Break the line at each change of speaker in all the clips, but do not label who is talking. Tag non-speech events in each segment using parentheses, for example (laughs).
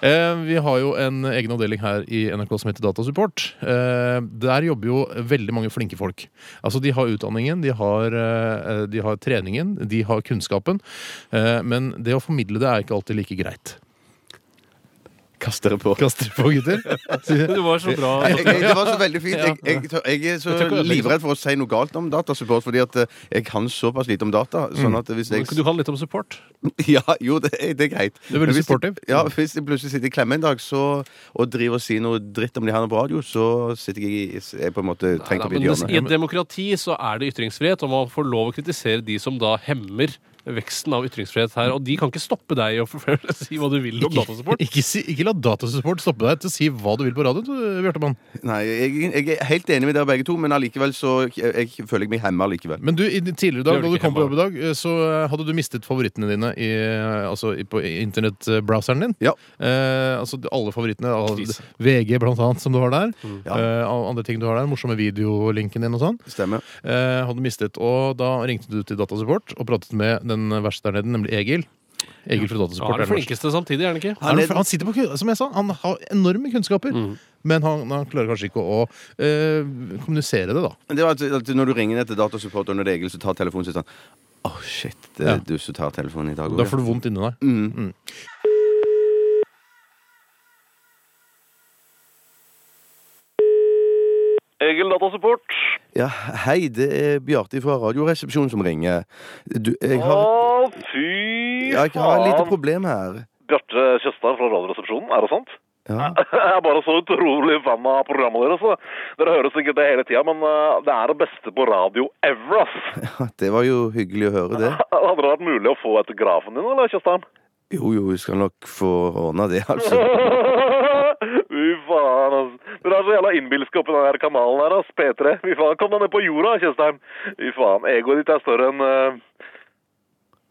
Eh, vi har jo en egen avdeling her i NRK som heter Datasupport. Eh, der jobber jo veldig mange flinke folk. Altså, De har utdanningen, de har, eh, de har treningen, de har kunnskapen. Eh, men det å formidle det er ikke alltid like greit.
Kast dere på.
Kaster dere på, gutter?
(laughs) Det var så bra.
Nei,
Morten.
jeg, jeg, det var så veldig fint. Jeg, jeg, jeg, er så
Jeg tror ikke det er liksom-
livredd for å si noe galt om datasupport, fordi at eh, jeg kan såpass lite om data.
Mm.
Sånn at hvis jeg
Kan du ha litt om support?
(laughs) Ja, jo, det, er- det er greit.
er veldig
Men hvis jeg-
supportive.
Ja, Hvis jeg plutselig sitter i klemme en dag så, og driver og sier noe dritt om de her på radio, så sitter jeg i jeg er på en måte tenkt
Nei,
opp i
men
et
I
hjørne.
et demokrati så er det ytringsfrihet, og man får lov å kritisere de som da hemmer veksten av ytringsfrihet her. Og de kan ikke stoppe deg i å (laughs) forfølge- si hva du vil om datasupport.
Ikke, si, ikke la Datasupport stoppe deg til å si hva du vil på radioen, du, Bjørtemann.
Nei, jeg, jeg er helt enig med dere begge to, men allikevel så jeg, jeg føler jeg meg hemma likevel.
Men du, i din tidligere dag,
Det gjør
da
det
du
ikke
kom på jobb i
hjemme.
dag, eh, så eh, hadde du mistet favorittene dine i, eh, altså, i, på internettbrowseren din.
Ja.
Eh, altså d- alle favorittene. al-
Krise.
VG, blant annet, som du har der.
Mm.
Ja.
Eh, og andre ting du har der. Morsomme videolinken din og sånn.
Stemmer.
Eh, hadde mistet. Og da ringte du til Datasupport og pratet med den verste der nede, nemlig Egil. Egil fra
Ja, han
Datasupport.
er den flinkeste samtidig, er han ikke?
Han,
Han er-
han sitter på, kun- som jeg sa, han har enorme kunnskaper,
Mm.
men han, han klarer kanskje ikke å, eh, kommunisere det, da.
Men Det var at, at Når du ringer ned til datasupport under Egil, så tar telefonen sitt sånn Å, shit. Det er
Ja.
du som tar telefonen i dag
Da
òg.
får du vondt inni deg. Mm.
Egil Datasupport.
Ja, hei, det er Bjarte fra Radioresepsjonen som ringer. Du, jeg
Å,
har,
fy
ja, jeg har et lite
faen.
problem her.
Bjarte Tjøstheim fra Radioresepsjonen, er det sant?
Ja.
Jeg er bare så utrolig fan av programmet deres. så Dere hører sikkert det hele tida, men eh, det er det beste på radio ever, ass.
ja, (laughs) Det var jo hyggelig å høre det.
(laughs) Hadde det vært mulig å få autografen din, eller, Tjøstheim?
Jo, jo, vi skal nok få ordna det, altså.
(laughs) Fy faen, ass. Dere er så jævla innbilske oppi den her kanalen her, ass. P3. Fy faen, kom deg ned på jorda, Tjøstheim. Fy faen, egoet ditt er større enn eh,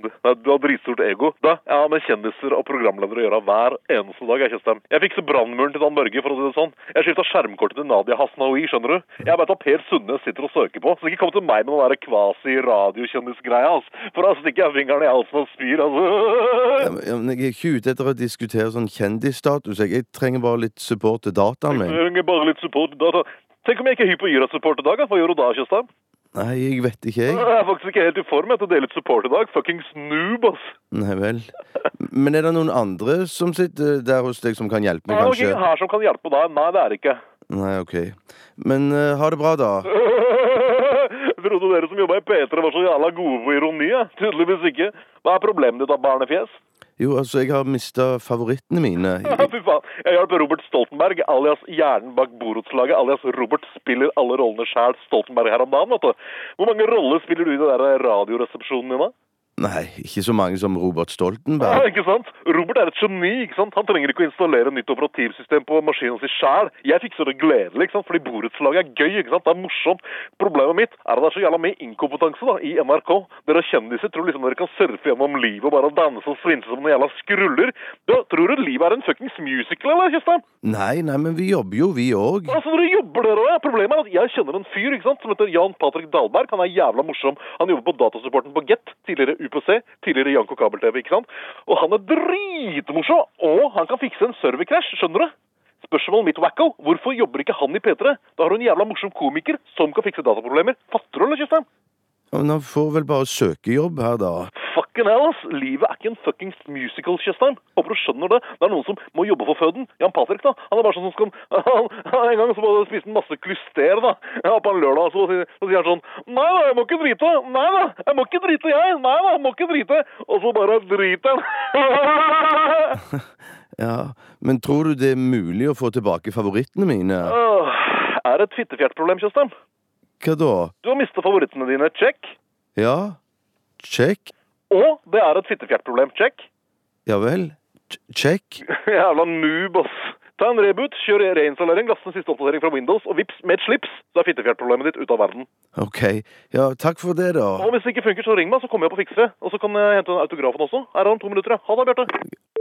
Nei, du har dritstort ego. Da, Jeg har med kjendiser og programledere å gjøre hver eneste dag. Jeg, Tjøstheim. jeg fikser brannmuren til Dan Børge, for å si det sånn. Jeg skifta skjermkortet til Nadia Hasnaoui, skjønner du. Jeg veit hva Per Sundnes sitter og søker på, så ikke kom til meg med den der kvasi-radiokjendisgreia, altså. For da stikker jeg fingeren i halsen og spyr, altså. (laughs)
Ja, men- ja, men jeg er ikke ute etter å diskutere sånn kjendisstatus. Jeg, jeg trenger bare litt support til dataen
Jeg
min.
trenger bare litt support. Da, da. Tenk om jeg ikke er hypp på Yra-support i dag? da? Hva gjør du da, Tjøstheim?
Nei, jeg vet ikke, jeg.
Jeg er faktisk ikke helt i form jeg, til å dele ut support i dag. Fucking snoob, ass.
Nei vel. Men er det noen andre som sitter der hos deg som kan hjelpe meg,
Er det ingen
kanskje?
her som kan hjelpe deg? Nei, det er det ikke. (laughs)
Nei, ok. Men eh, ha det bra, da.
Jeg trodde dere som jobba i P3 var så jævla gode på ironi. jeg. Tydeligvis ikke. Hva er problemet ditt, da, barnefjes? (laughs)
Jo, altså, jeg har mista favorittene mine.
Ja, Fy faen. Jeg hjalp Robert Stoltenberg, alias hjernen bak borettslaget, alias Robert spiller alle rollene sjæl, Stoltenberg her om dagen, vet du. Hvor mange roller spiller du i den der radioresepsjonen din, da?
Nei, ikke så mange som Robert
Ja,
Stoltenberg.
(laughs) ikke sant? Robert er et geni. ikke sant? Han trenger ikke å installere nytt operativsystem på maskinen sin sjæl. Jeg fikser det gledelig, ikke sant? fordi borettslaget er gøy. ikke sant? Det er morsomt. Problemet mitt er at det er så jævla mye inkompetanse da, i NRK. Dere kjendiser tror liksom dere kan surfe gjennom livet og bare danse og svinse som noen jævla skruller. Du, tror du livet er en fuckings musical, eller, Kjøstheim?
Nei, nei, men vi jobber jo, vi òg.
Altså, dere jobber dere også, ja. Problemet er at jeg kjenner en fyr ikke sant, som heter Jan Patrick Dahlberg. Han er jævla morsom. Han jobber på datasupporten på Get, tidligere UPC, tidligere Janko Kabel-TV. ikke sant? Og han er dritmorsom! Og han kan fikse en serverkrasj, skjønner du? Spørsmålet mitt, Wacko, hvorfor jobber ikke han i P3? Da har du en jævla morsom komiker som kan fikse dataproblemer. Fatter du, eller, Kjøstheim?
Men han får vel bare søkejobb her, da.
Fucking hell, ass! Livet er ikke en fuckings musical, Tjøstheim. Håper du skjønner det. Det er noen som må jobbe for føden. Jan Patrick, da. Han er bare sånn som skal (laughs) han, han, En gang så bare spiste han masse klyster, da. Ja, på en lørdag, så, sier- så sier han sånn Nei da, jeg må ikke drite. Nei da, jeg må ikke drite, jeg. Nei da, jeg må ikke drite. Og så bare driter han. (laughs)
Ja, Men tror du det er mulig å få tilbake favorittene mine?
Åh, er det et fittefjertproblem, Tjøstheim?
Hva da?
Du har mistet favorittene dine. Check.
Ja? Check?
Og det er et fittefjertproblem. Check.
Ja vel? Ch- Check?
Jævla noob, ass. Ta en reboot, kjør reinstallering, last ned siste oppdatering fra Windows, og vips, med et slips, så er fittefjertproblemet ditt ute av verden.
Ok. Ja, takk for det, da.
Og hvis det ikke funker, så ring meg, så kommer jeg opp og fikser det. Og så kan jeg hente den autografen også. Her har han to minutter, ja. Ha det, Bjarte.